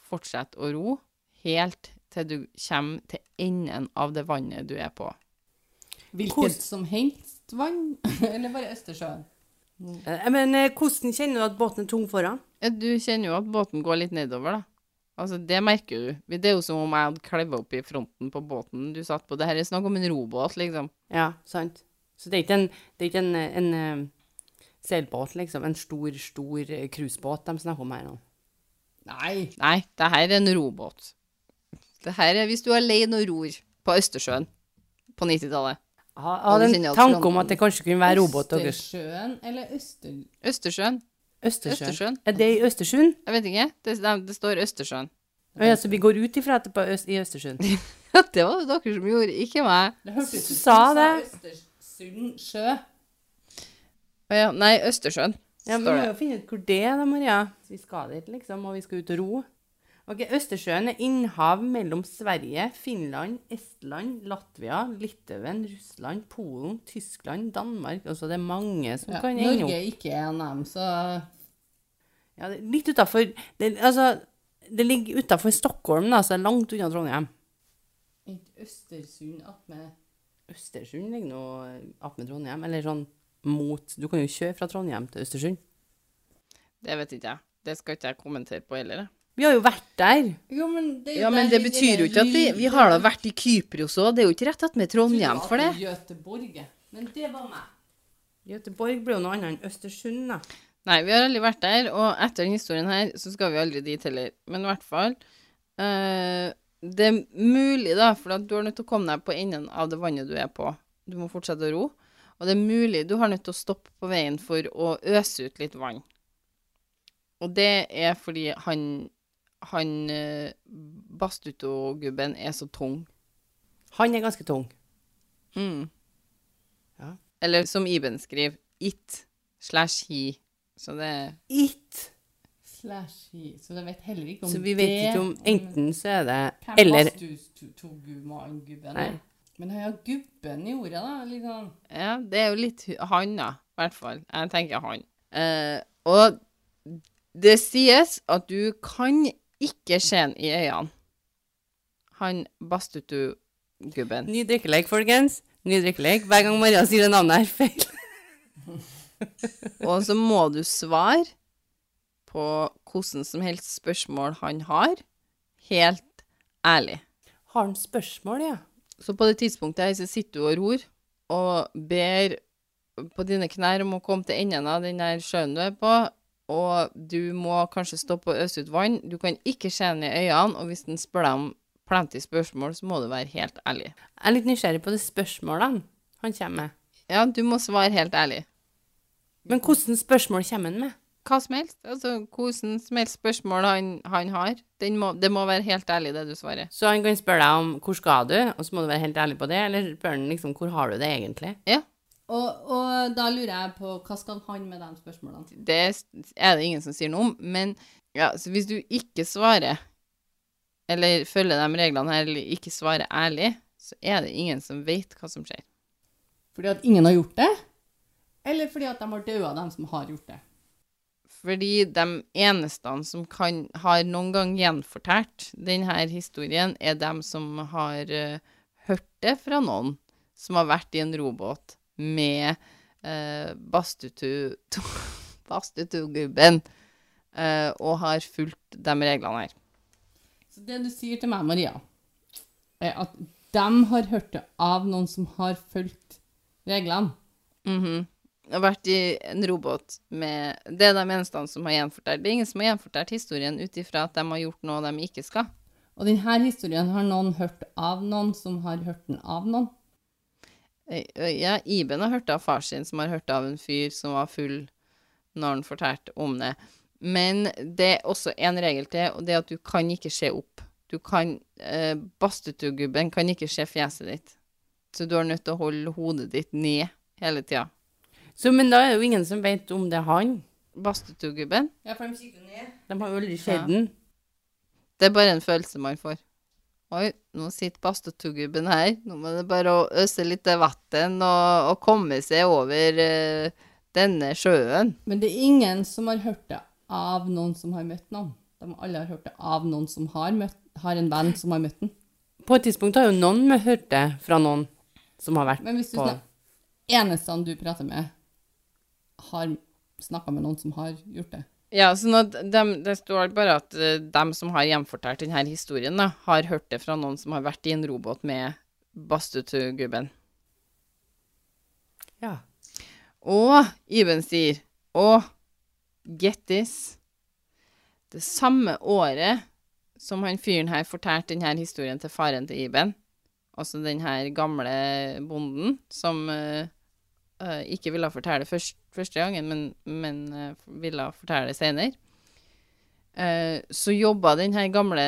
S1: fortsette å ro helt til du kommer til enden av det vannet du er på.
S3: Hvilket som helst vann? Eller bare Østersjøen?
S2: Eh, Men eh, hvordan kjenner du at båten er tung foran?
S1: Ja, Du kjenner jo at båten går litt nedover, da. Altså, det merker du. Det er jo som om jeg hadde kleva opp i fronten på båten du satt på. Det her er snakk om en robåt, liksom.
S2: Ja, sant. Så det er ikke en, det er ikke en, en eh, seilbåt, liksom. En stor, stor eh, cruisebåt de snakker om her nå.
S3: Nei.
S1: Nei, det her er en robåt. Det her er hvis du er alene og ror på Østersjøen på 90-tallet.
S2: Jeg hadde en
S1: Originalt
S2: tanke om
S1: Trondheim.
S2: at det kanskje kunne være robåt deres.
S3: Østersjøen eller Øster...
S1: Østersjøen?
S2: Østersjøen.
S1: Østersjøen.
S2: Er det i Østersjøen?
S1: Jeg vet ikke. Det, det, det står Østersjøen.
S2: Å Ja, så vi går ut ifra at det er på øst, i Østersjøen.
S1: det var det dere som gjorde, ikke meg.
S3: Det hørtes ut som
S2: Sa det.
S3: Østersund sjø.
S1: Å Ja, nei, Østersjøen.
S2: Ja, men Vi
S1: står
S2: må
S1: det.
S2: jo finne ut hvor det er, da, Maria. Vi skal dit, liksom, og vi skal ut og ro. Ok, Østersjøen er innhav mellom Sverige, Finland, Estland, Latvia, Litauen, Russland, Polen, Tyskland, Danmark Altså, det er mange som
S3: Ja.
S2: kan ende
S3: Norge
S2: opp
S3: er ikke en av dem, så
S2: ja, det er Litt utafor det, Altså, det ligger utafor Stockholm, da, så det er langt unna Trondheim.
S3: ikke Østersund attmed
S2: Østersund ligger nå attmed Trondheim, eller sånn mot Du kan jo kjøre fra Trondheim til Østersund.
S1: Det vet ikke jeg. Det skal ikke jeg kommentere på heller. jeg.
S2: Vi har jo vært der.
S3: Jo, men det,
S1: Ja, men det betyr jo ikke at vi Vi har da vært i Kypros òg, det er jo ikke rett attmed Trondheim for det.
S3: Göteborg. Men det var meg.
S2: Göteborg blir jo noe annet enn Østersund, da.
S1: Nei, vi har aldri vært der, og etter denne historien her, så skal vi aldri dit heller. Men i hvert fall eh, Det er mulig, da, for at du er nødt til å komme deg på enden av det vannet du er på. Du må fortsette å ro. Og det er mulig du har nødt til å stoppe på veien for å øse ut litt vann. Og det er fordi han han eh, Bastuto-gubben er så tung.
S2: Han er ganske tung.
S1: Mm.
S2: Ja.
S1: Eller som Iben skriver, it slash he. Så det er
S2: It.
S3: Slash i Så jeg vet heller ikke om
S2: Så vi vet
S3: det
S2: ikke om Enten så er det
S3: Hvem
S2: Eller
S3: Bastutoguman-gubben
S2: Nei.
S3: er? Men han har gubben i ordet, da. Litt sånn
S1: Ja, det er jo litt hu- han, da. I hvert fall. Jeg tenker han. Eh, og det sies at du kan ikke se han i øynene. Han Bastutu-gubben.
S2: Ny drikkelek, folkens. Ny drikkelek. Hver gang Maria sier det navnet her feil.
S1: Og så må du svare på hvordan som helst spørsmål han har, helt ærlig.
S2: Har han spørsmål, ja?
S1: Så på det tidspunktet her så sitter du og ror og ber på dine knær om å komme til enden av den der sjøen du er på, og du må kanskje stoppe og øse ut vann. Du kan ikke se den i øynene, og hvis den spør deg om plenty spørsmål, så må du være helt ærlig.
S2: Jeg er litt nysgjerrig på de spørsmålene han kommer med.
S1: Ja, du må svare helt ærlig.
S2: Men hvordan spørsmål kommer han med?
S1: Hva som helst. Altså hvordan som helst spørsmål han, han har. Den må, det må være helt ærlig, det du svarer.
S2: Så han kan spørre deg om hvor skal du, og så må du være helt ærlig på det, eller spør han liksom hvor har du det egentlig?
S1: Ja.
S3: og, og da lurer jeg på hva skal han med de spørsmålene?
S1: Det er det ingen som sier noe om, men ja, så hvis du ikke svarer, eller følger de reglene her, eller ikke svarer ærlig, så er det ingen som vet hva som skjer.
S3: Fordi at ingen har gjort det? Eller fordi at de har daua, de som har gjort det?
S1: Fordi de eneste som kan, har noen gang gjenfortalt denne historien, er dem som har eh, hørt det fra noen som har vært i en robåt med eh, Bastutu- Bastutu-gubben, eh, og har fulgt de reglene her.
S3: Så det du sier til meg, Maria, er at de har hørt det av noen som har fulgt reglene.
S1: Mhm. Og vært i en robåt med Det er de eneste som har gjenfortalt. Det er ingen som har gjenfortalt historien ut ifra at de har gjort noe de ikke skal.
S3: Og denne historien har noen hørt av noen som har hørt den av noen.
S1: Eh, eh, Ja, Iben har hørt av far sin, som har hørt av en fyr som var full når han fortalte om det. Men det er også en regel til, og det er at du kan ikke se opp. Du kan eh, Bastetugubben kan ikke se fjeset ditt. Så du er nødt til å holde hodet ditt ned hele tida.
S2: Så, men da er det jo ingen som vet om det er han.
S1: Bastetugubben,
S3: Ja, for de kikker ned.
S2: De har jo aldri sett den.
S1: det er bare en følelse man får. Oi, nå sitter Bastetugubben her. Nå må det bare å øse litt vann og, og komme seg over eh, denne sjøen.
S3: Men det er ingen som har hørt det av noen som har møtt noen. De alle har hørt det av noen som har, møtt, har en venn som har møtt den.
S2: På et tidspunkt har jo noen med- hørt det fra noen som har vært
S3: Men hvis du
S2: på
S3: snak- eneste du prater med, har snakka med noen som har gjort det.
S1: Ja, sånn at dem- det står bare at eh, dem som har gjenfortalt denne historien, da, har hørt det fra noen som har vært i en robåt med Bastutu-gubben.
S2: Ja.
S1: Og Iben sier Og get this Det samme året som han fyren her fortalte denne historien til faren til Iben, altså den her gamle bonden som eh, eh, ikke ville fortelle først, første gangen, men, men eh, ville fortelle senere, eh, så jobba den her gamle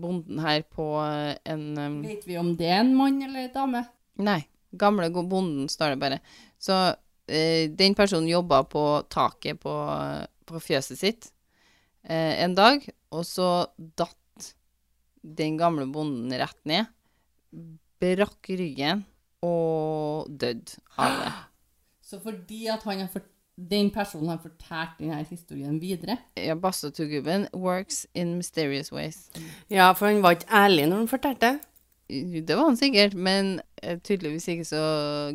S1: bonden her på eh, en eh,
S3: Vet vi om det er en mann eller en dame?
S1: Nei. Gamle go- bonden, står det bare. Så eh, den personen jobba på taket på, på fjøset sitt eh, en dag, og så datt den gamle bonden rett ned. Brakk ryggen og døde av det.
S3: Så fordi at han har fort- den personen har fortalt denne historien videre
S1: Ja, Bastotugubben works in mysterious ways.
S2: ja, for han var ikke ærlig når han fortalte.
S1: Det var han sikkert, men eh, tydeligvis ikke så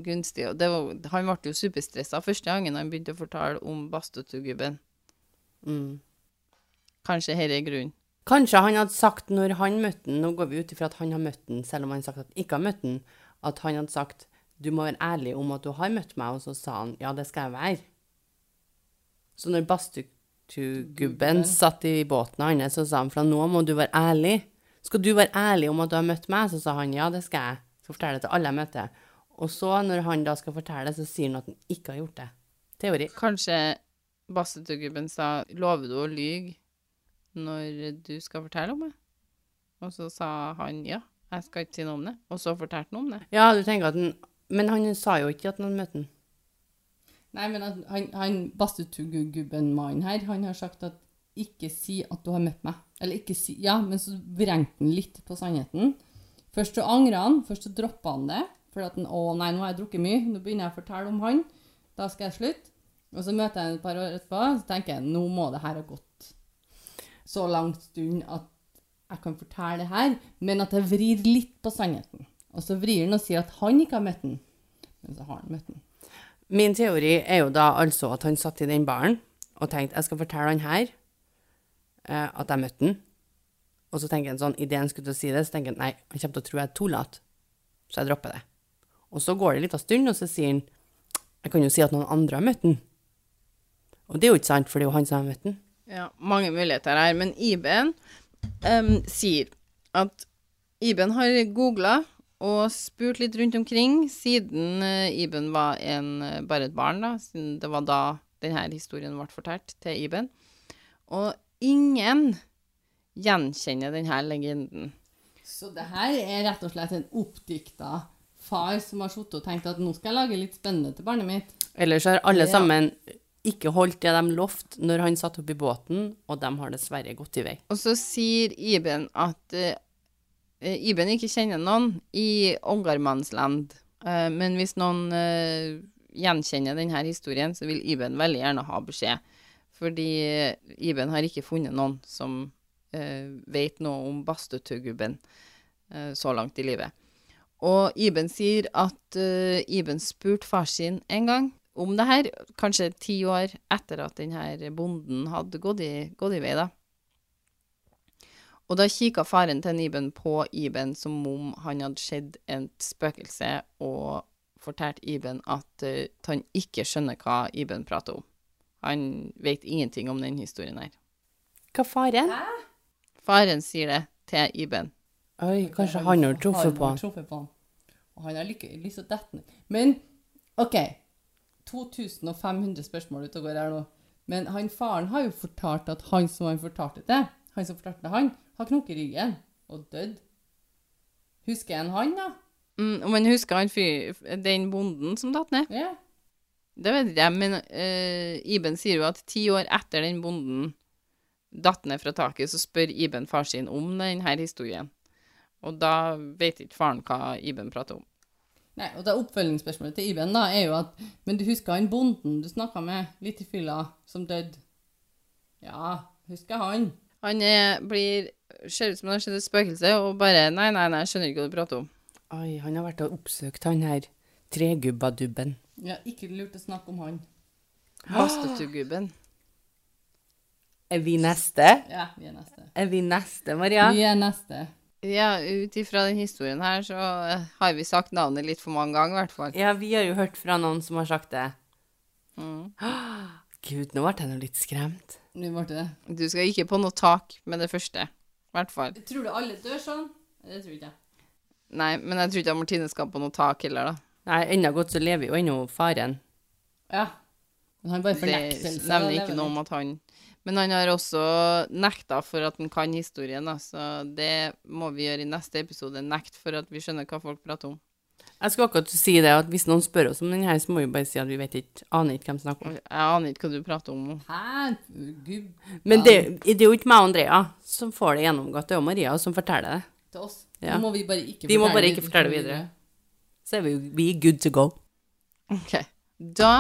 S1: gunstig. Og det var, han ble jo superstressa første gangen han begynte å fortelle om Bastotugubben.
S2: Mm.
S1: Kanskje dette er grunnen.
S2: Kanskje han hadde sagt når han møtte den, nå går vi ut ifra at han har møtt den, selv om han har sagt at han ikke har møtt den, at han hadde sagt du må være ærlig om at du har møtt meg, og så sa han ja, det skal jeg være. Så når Bastuktu-gubben satt i båten hans, så sa han fra nå må du være ærlig. Skal du være ærlig om at du har møtt meg? Så sa han ja, det skal jeg. Skal fortelle det til alle jeg møter. Og så, når han da skal fortelle, så sier han at han ikke har gjort det. Teori.
S1: Kanskje Bassetugubben sa 'Lover du å lyge når du skal fortelle om det?' Og så sa han 'Ja, jeg skal ikke si noe om det', og så fortalte han om det.
S2: Ja, du tenker at han Men han sa jo ikke at han hadde møtt den.
S3: Nei, men at han, han Bastutugubben-mannen her, han har sagt at ikke si at du har møtt meg. Eller ikke si Ja, men så vrengte han litt på sannheten. Først så angra han, først så droppa han det. For at han Å nei, nå har jeg drukket mye, nå begynner jeg å fortelle om han. Da skal jeg slutte. Og så møter jeg ham et par år etterpå, så tenker jeg nå må det her ha gått så lang stund at jeg kan fortelle det her, men at jeg vrir litt på sannheten. Og så vrir han og sier at han ikke har møtt den. Men så har han møtt den.
S2: Min teori er jo da altså at han satt i den baren og tenkte jeg skal fortelle han her eh, at jeg møtte han. Og så tenker han sånn, idet han skulle til å si det, så tenker han nei, han kommer til å tro jeg er tullete, så jeg dropper det. Og så går det en liten stund, og så sier han jeg kan jo si at noen andre har møtt han. Og det er jo ikke sant, for det er jo han som har møtt han.
S1: Ja, mange muligheter her, men Iben em, sier at Iben har googla og spurt litt rundt omkring siden eh, Iben var en, eh, bare et barn, da, siden det var da denne historien ble fortalt til Iben. Og ingen gjenkjenner denne legenden.
S3: Så det her er rett og slett en oppdikta far som har sittet og tenkt at nå skal jeg lage litt spennende til barnet mitt.
S2: Ellers har alle
S3: Ja.
S2: sammen ikke holdt det de lovte når han satt oppe i båten, og de har dessverre gått i vei.
S1: Og så sier Iben at eh, eh, Iben ikke kjenner noen i Ångarmannsland. Eh, men hvis noen eh, gjenkjenner denne historien, så vil Iben veldig gjerne ha beskjed. Fordi eh, Iben har ikke funnet noen som eh, vet noe om Bastutugubben eh, så langt i livet. Og Iben sier at eh, Iben spurte far sin en gang om det her, kanskje ti år etter at denne bonden hadde gått i, gått i vei, da. Og da kikka faren til Iben på Iben som om han hadde sett et spøkelse, og fortalte Iben at eh, han ikke skjønner hva Iben prater om. Han vet ingenting om den historien her.
S2: Hva faren?
S1: Faren sier det til Iben.
S2: Oi, kanskje han har truffet på
S3: han.
S2: han.
S3: truffet på han. Og han har lykke, lyst til å dette ned. Men OK 2500 spørsmål ute og går her nå. Men han faren har jo fortalt at han som han fortalte til, han som fortalte til han, har knokket ryggen og dødd. Husker han han, da?
S1: Mm, men husker han fyr, den bonden som datt ned?
S3: Ja.
S1: Det vet ikke jeg, men eh, Iben sier jo at ti år etter den bonden datt ned fra taket, så spør Iben far sin om denne historien. Og da vet ikke faren hva Iben prater om.
S3: Nei, og da Oppfølgingsspørsmålet til Iben da, er jo at Men du husker han bonden du snakka med litt i fylla, som døde? Ja, husker han.
S1: Han er, blir, ser ut som han har sett et spøkelse, og bare Nei, nei, nei, jeg skjønner ikke hva du prater om.
S2: Oi, han har vært og oppsøkt han her tregubbadubben.
S3: Ja, ikke lurt å snakke om han.
S1: Bastetugubben.
S2: Er vi neste?
S3: Ja, vi er neste.
S2: Er vi neste, Maria?
S3: Vi er neste.
S1: Ja, ut ifra den historien her, så eh, har vi sagt navnet litt for mange ganger, i hvert fall.
S2: Ja, vi har jo hørt fra noen som har sagt det.
S1: Mm.
S2: Gud, nå ble jeg nå litt skremt.
S3: Nå ble det det.
S1: Du skal ikke på noe tak med det første. I hvert fall.
S3: Tror du alle dør sånn? Det tror ikke jeg.
S1: Nei, men jeg tror ikke at Martine skal på noe tak heller, da.
S2: Nei, ennå godt så lever jo ennå faren.
S3: Ja. Men han bare
S1: Det
S3: fornektelse.
S1: nevner ikke noe om at han Men han har også nekta for at han kan historien, da, så det må vi gjøre i neste episode. Nekt for at vi skjønner hva folk prater om.
S2: Jeg skulle akkurat si det, at hvis noen spør oss om den her, så må vi bare si at vi vet ikke, aner ikke hvem som snakker om.
S1: Jeg aner ikke hva du prater om nå.
S3: Hæ? Gud,
S2: Men det, det er jo ikke meg og Andrea som får det gjennomgått, det er jo Maria som forteller det.
S3: til oss.
S2: Ja.
S3: Nå må vi bare ikke
S2: Vi må bare
S3: videre.
S2: ikke fortelle videre. Så er vi jo vi er good to go.
S1: Ok. Da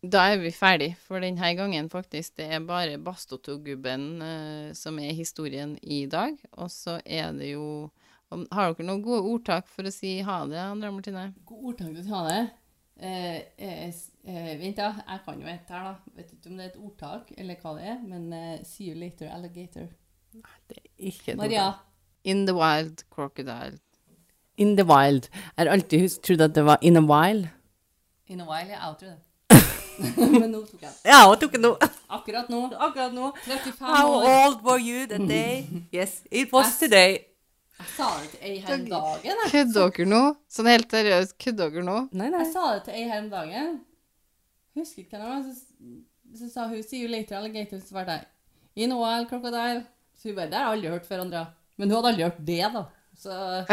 S1: Da er vi ferdig for denne gangen, faktisk. Det er bare Bastotogubben eh, som er historien i dag. Og så er det jo om- Har dere noen gode ordtak for å si ha det, Andrea Martine?
S3: God ordtak til Tane. Eh, eh, s- eh, vent, da. Jeg kan jo et her, da. Vet ikke om det er et ordtak, eller hva det er, men eh, see you later, alligator.
S2: Det er ikke noe-
S3: Maria.
S1: In the wild crocodile.
S2: In the wild. Jeg har alltid hus- trodd at det var in a while.
S3: In a while, jeg tror det. men nå tok jeg den.
S2: Ja, og tok det nå.
S3: Akkurat nå.
S2: Akkurat nå.
S3: 35
S2: How
S3: år.
S2: old Mm. were you that day? Yes, it was today.
S3: Jeg sa det til ei her om dagen. Jeg.
S1: Kødder dere nå? Sånn helt seriøst, kødder dere nå?
S2: Nei,
S3: jeg
S2: nei.
S3: sa det til ei her om dagen. Husker ikke hva det var. Så, så sa hun 'see you later, alligator', så svarte jeg 'in a while, crocodile'. Så hun bare 'det har jeg aldri hørt før, Andrea'. Men hun hadde aldri hørt det, da. Så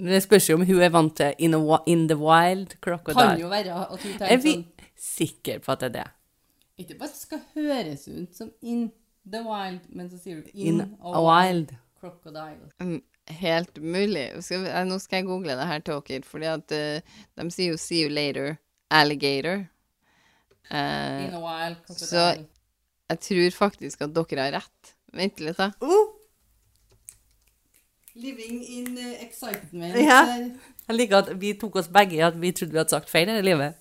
S2: Men Det spørs jo om hun er vant til in, a, wi- in the wild
S3: kan
S2: crocodile.
S3: jo være at hun
S2: Er
S3: tenker
S2: vi
S3: sånn
S2: sikre på at det er det?
S3: Ikke bare at det skal høres ut som 'in the wild', men så sier du 'in,
S2: In a wild.
S3: crocodile'.
S1: Mm, Helt mulig. Skal, vi- eh, nå skal jeg google det her til dere, fordi at eh, de sier jo 'see you later', alligator. Eh,
S3: In a wild, crocodile.
S1: Så- Jeg tror faktisk at dere har rett. Vent litt, da.
S2: Oh,
S3: Living in eh, excitement.
S2: Ja.
S3: Der.
S2: jeg liker at vi tok oss begge i at vi trodde vi hadde sagt feil her i livet.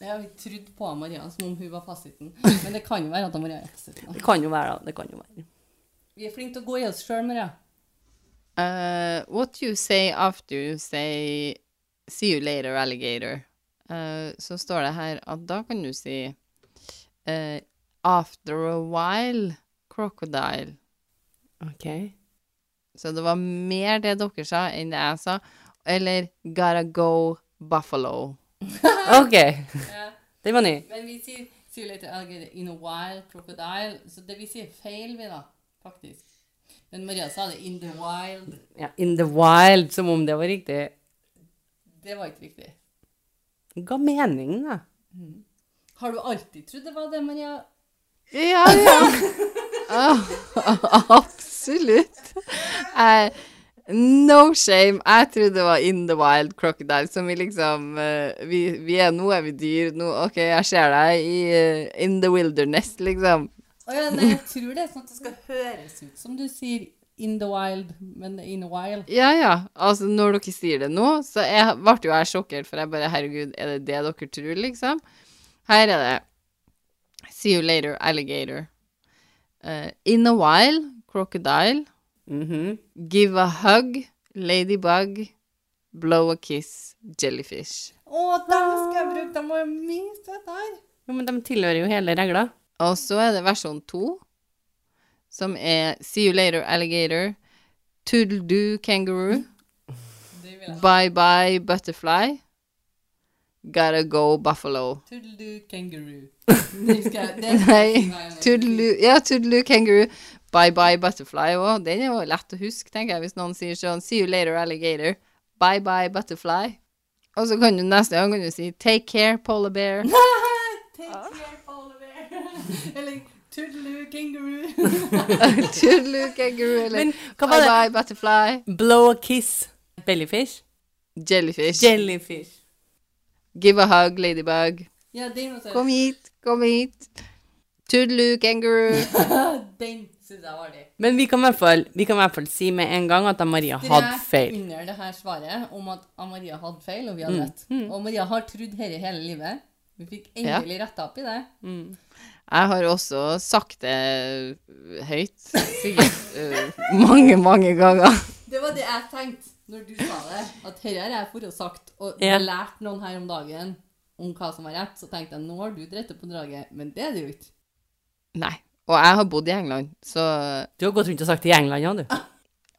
S3: Jeg har trodd på Maria som om hun var fasiten, men det kan jo være at Maria er fasiten.
S2: Det kan jo være, da. Det kan jo være.
S3: Vi er flinke til å gå i oss sjøl, Maria.
S1: Eh, what you say after you say 'see you later, alligator', Eh, så står det her at da kan du si eh, 'after a while, crocodile'.
S2: Ok.
S1: Så det var mer det dere sa, enn det jeg sa. Eller 'gotta go, buffalo'.
S2: Ok. Den var ny.
S3: Men vi sier sier litt alligator in a wild crocodile, så det vi sier feil, vi, da. Faktisk. Men Maria sa det in the wild.
S2: Ja, in the wild, som om det var riktig.
S3: Det var ikke riktig.
S2: Det ga mening, da.
S3: Har du alltid trodd det var det, Maria?
S1: Ja, ja. Ah, absolutt. Eh, no shame. Jeg trodde det var in the wild crocodile, som vi liksom eh, vi, vi er, Nå er vi dyr. Nå, OK, jeg ser deg i eh, in the wilderness, liksom.
S3: Å ja, nei, jeg tror det er sånn at det skal høres ut som du sier in the wild, men in a while.
S1: Ja, ja. Altså, når dere sier det nå, så jeg, ble jo jeg sjokkert, for jeg bare Herregud, er det det dere tror, liksom? Her er det. See you later, alligator. Eh, in a while, crocodile.
S2: Mhm.
S1: Give a hug, ladybug. Blow a kiss, jellyfish.
S3: Å, dem skal jeg bruke! De var mye søte her.
S2: Jo, men de tilhører jo hele regla.
S1: Og så er det versjon to, som er See you later, alligator. Toodle-doo, kangaroo.
S3: Det vil jeg.
S1: Bye bye, butterfly. Gotta go, buffalo.
S3: Toodaloo kangaroo. Den skal jeg- den skal jeg si
S1: Nei,
S3: hver gang.
S1: toodle-doo Ja, toodle-doo, kangaroo. Bye bye, butterfly òg. Den er jo lett å huske, tenker jeg, hvis noen sier sånn See you later, alligator. Bye bye, butterfly. Og så kan du neste gang kan du si Take care, polar bear.
S3: Take care, polar bear. Eller toodaloo kangaroo.
S1: Toodaloo, kangaroo, eller
S2: Men hva var
S1: Bye
S2: det?
S1: bye, butterfly.
S2: Blow a kiss. Bellyfish.
S1: Jellyfish.
S2: Jellyfish.
S1: Give a hug, ladybug.
S3: Ja, den også.
S1: Kom hit, kom hit. Toodaloo, kangaroo.
S3: Den synes jeg var det.
S2: Men vi kan, i hvert fall, vi kan i hvert fall si med en gang at da Maria hadde feil.
S3: under det her svaret om at Maria hadde feil, og vi hadde rett. Og Maria har trodd dette hele livet. Vi fikk endelig retta opp i det.
S1: Jeg har også sagt det høyt, sikkert eh, mange, mange ganger.
S3: Det var det jeg tenkte når du sa det. At dette har jeg forårsaket og
S2: Ja.
S3: lært noen her om dagen om hva som var rett. Så tenkte jeg nå har du dritt på draget, men det er det jo ikke.
S1: Nei. Og jeg har bodd i England, så
S2: Du har gått rundt og sagt det i England, ja,
S1: Ah.
S2: du.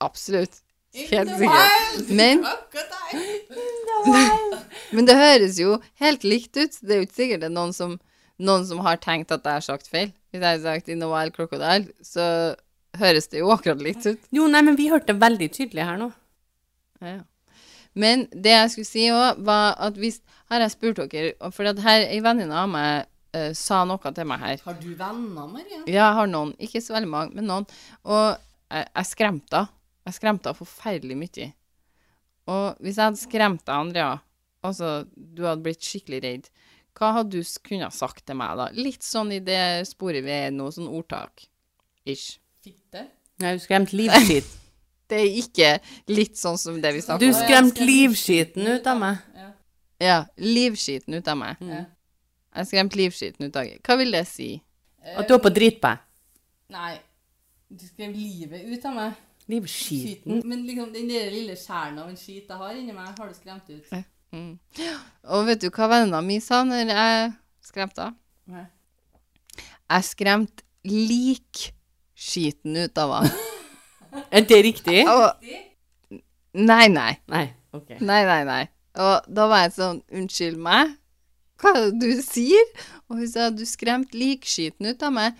S1: absolutt.
S3: Ikke
S1: Helt
S3: noe
S1: sikkert.
S3: feil!
S1: Men-
S3: Akkurat der.
S1: Men det høres jo helt likt ut. Det er jo ikke sikkert det er noen som, noen som har tenkt at jeg har sagt feil. Hvis jeg har sagt 'In a wild crocodile', så høres det jo akkurat likt ut.
S2: Jo, nei, men vi hørte det veldig tydelig her nå.
S1: Ja. Men det jeg skulle si òg, var at hvis Her har jeg spurt dere, og for at her ei venninne av meg eh, sa noe til meg her.
S3: Har du venner, Maria?
S1: Ja, jeg har noen. Ikke så veldig mange, men noen. Og jeg, jeg skremte henne. Jeg skremte henne forferdelig mye. Og hvis jeg hadde skremt deg, Andrea, altså du hadde blitt skikkelig redd, hva hadde du s- kunnet sagt til meg da? Litt sånn i det sporet vi er i nå, sånn ordtak. Ish.
S3: Fitte?
S2: Nei, du skremte livskiten.
S1: Det er ikke litt sånn som det vi
S2: Du
S1: snakker om.
S2: skremte livskiten ut av meg.
S3: Ja.
S1: Ja, livskiten ut av meg.
S3: Ja.
S1: Jeg skremte livskiten ut av deg. Hva vil det si? Eh,
S2: At du var på dritbæ.
S3: Nei. Du skrev livet ut av meg.
S2: Livskiten.
S3: Skiten. Men liksom den der lille skjæren av en skit jeg har inni meg, har du skremt ut.
S1: Mm. Og vet du hva vennene mine sa når jeg skremte henne?
S3: Nei.
S1: Jeg skremte likskiten ut av henne.
S2: Er det riktig?
S1: Og- Nei, nei.
S2: Nei. ok.
S1: Nei, nei, nei. Og da var jeg sånn Unnskyld meg? Hva er det du sier? Og hun sa du skremte likskiten ut av meg.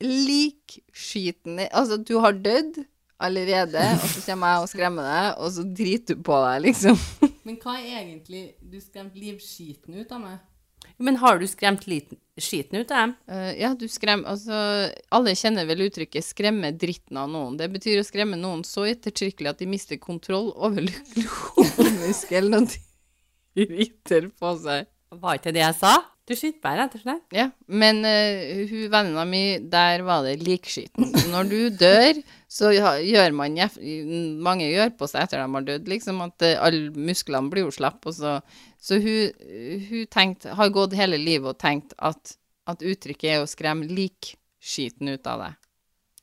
S1: Likskiten i- Altså, du har dødd allerede, og så kommer jeg og skremmer deg, og så driter du på deg, liksom.
S3: Men hva er egentlig Du skremte livskiten ut av meg.
S2: Men har du skremt liten, skiten ut av dem?
S1: Eh, ja, du skremmer Altså, alle kjenner vel uttrykket 'skremme dritten av noen'. Det betyr å skremme noen så ettertrykkelig at de mister kontroll over lokomuskelen og driter på seg.
S2: Var ikke det jeg sa? Du skyter meg, rett og slett.
S1: Ja, men eh, hun venninna mi, der var det likskiten. Så Når du dør, så ha- gjør man jef Mange gjør på seg etter de har dødd, liksom, at eh, alle musklene blir jo slapp, og så Så hun, hun tenkte, har gått hele livet og tenkt at, at uttrykket er å skremme likskiten ut av deg.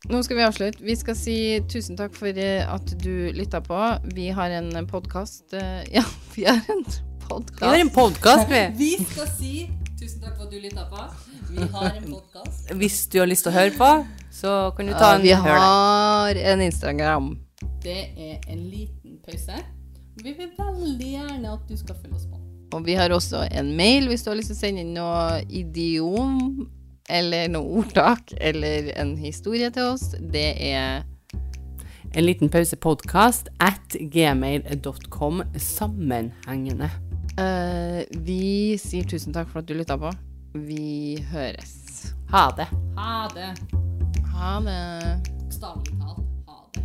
S1: Nå skal vi avslutte. Vi skal si tusen takk for eh, at du lytta på. Vi har en podkast Ja, vi har en
S2: Vi har
S1: podkast.
S2: en podkast, vi.
S3: Vi skal si tusen takk for at du lytta på. Vi har en podkast.
S2: Hvis du har lyst til å høre på, så kan du ta en
S1: Vi
S2: hør der.
S1: har en Instagram.
S3: Det er en liten pause. Vi vil veldig gjerne at du skal følge oss på.
S1: Og vi har også en mail hvis du har lyst til å sende inn noe idiom eller noe ordtak eller en historie til oss. Det er
S2: En liten pause podkast at gmail.com sammenhengende.
S1: eh, Vi sier tusen takk for at du lytta på. Vi høres.
S2: Ha det.
S3: Ha det.
S1: Ha det.
S3: Bokstavelig talt. Ha det.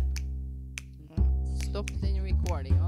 S1: Stopp den recordinga.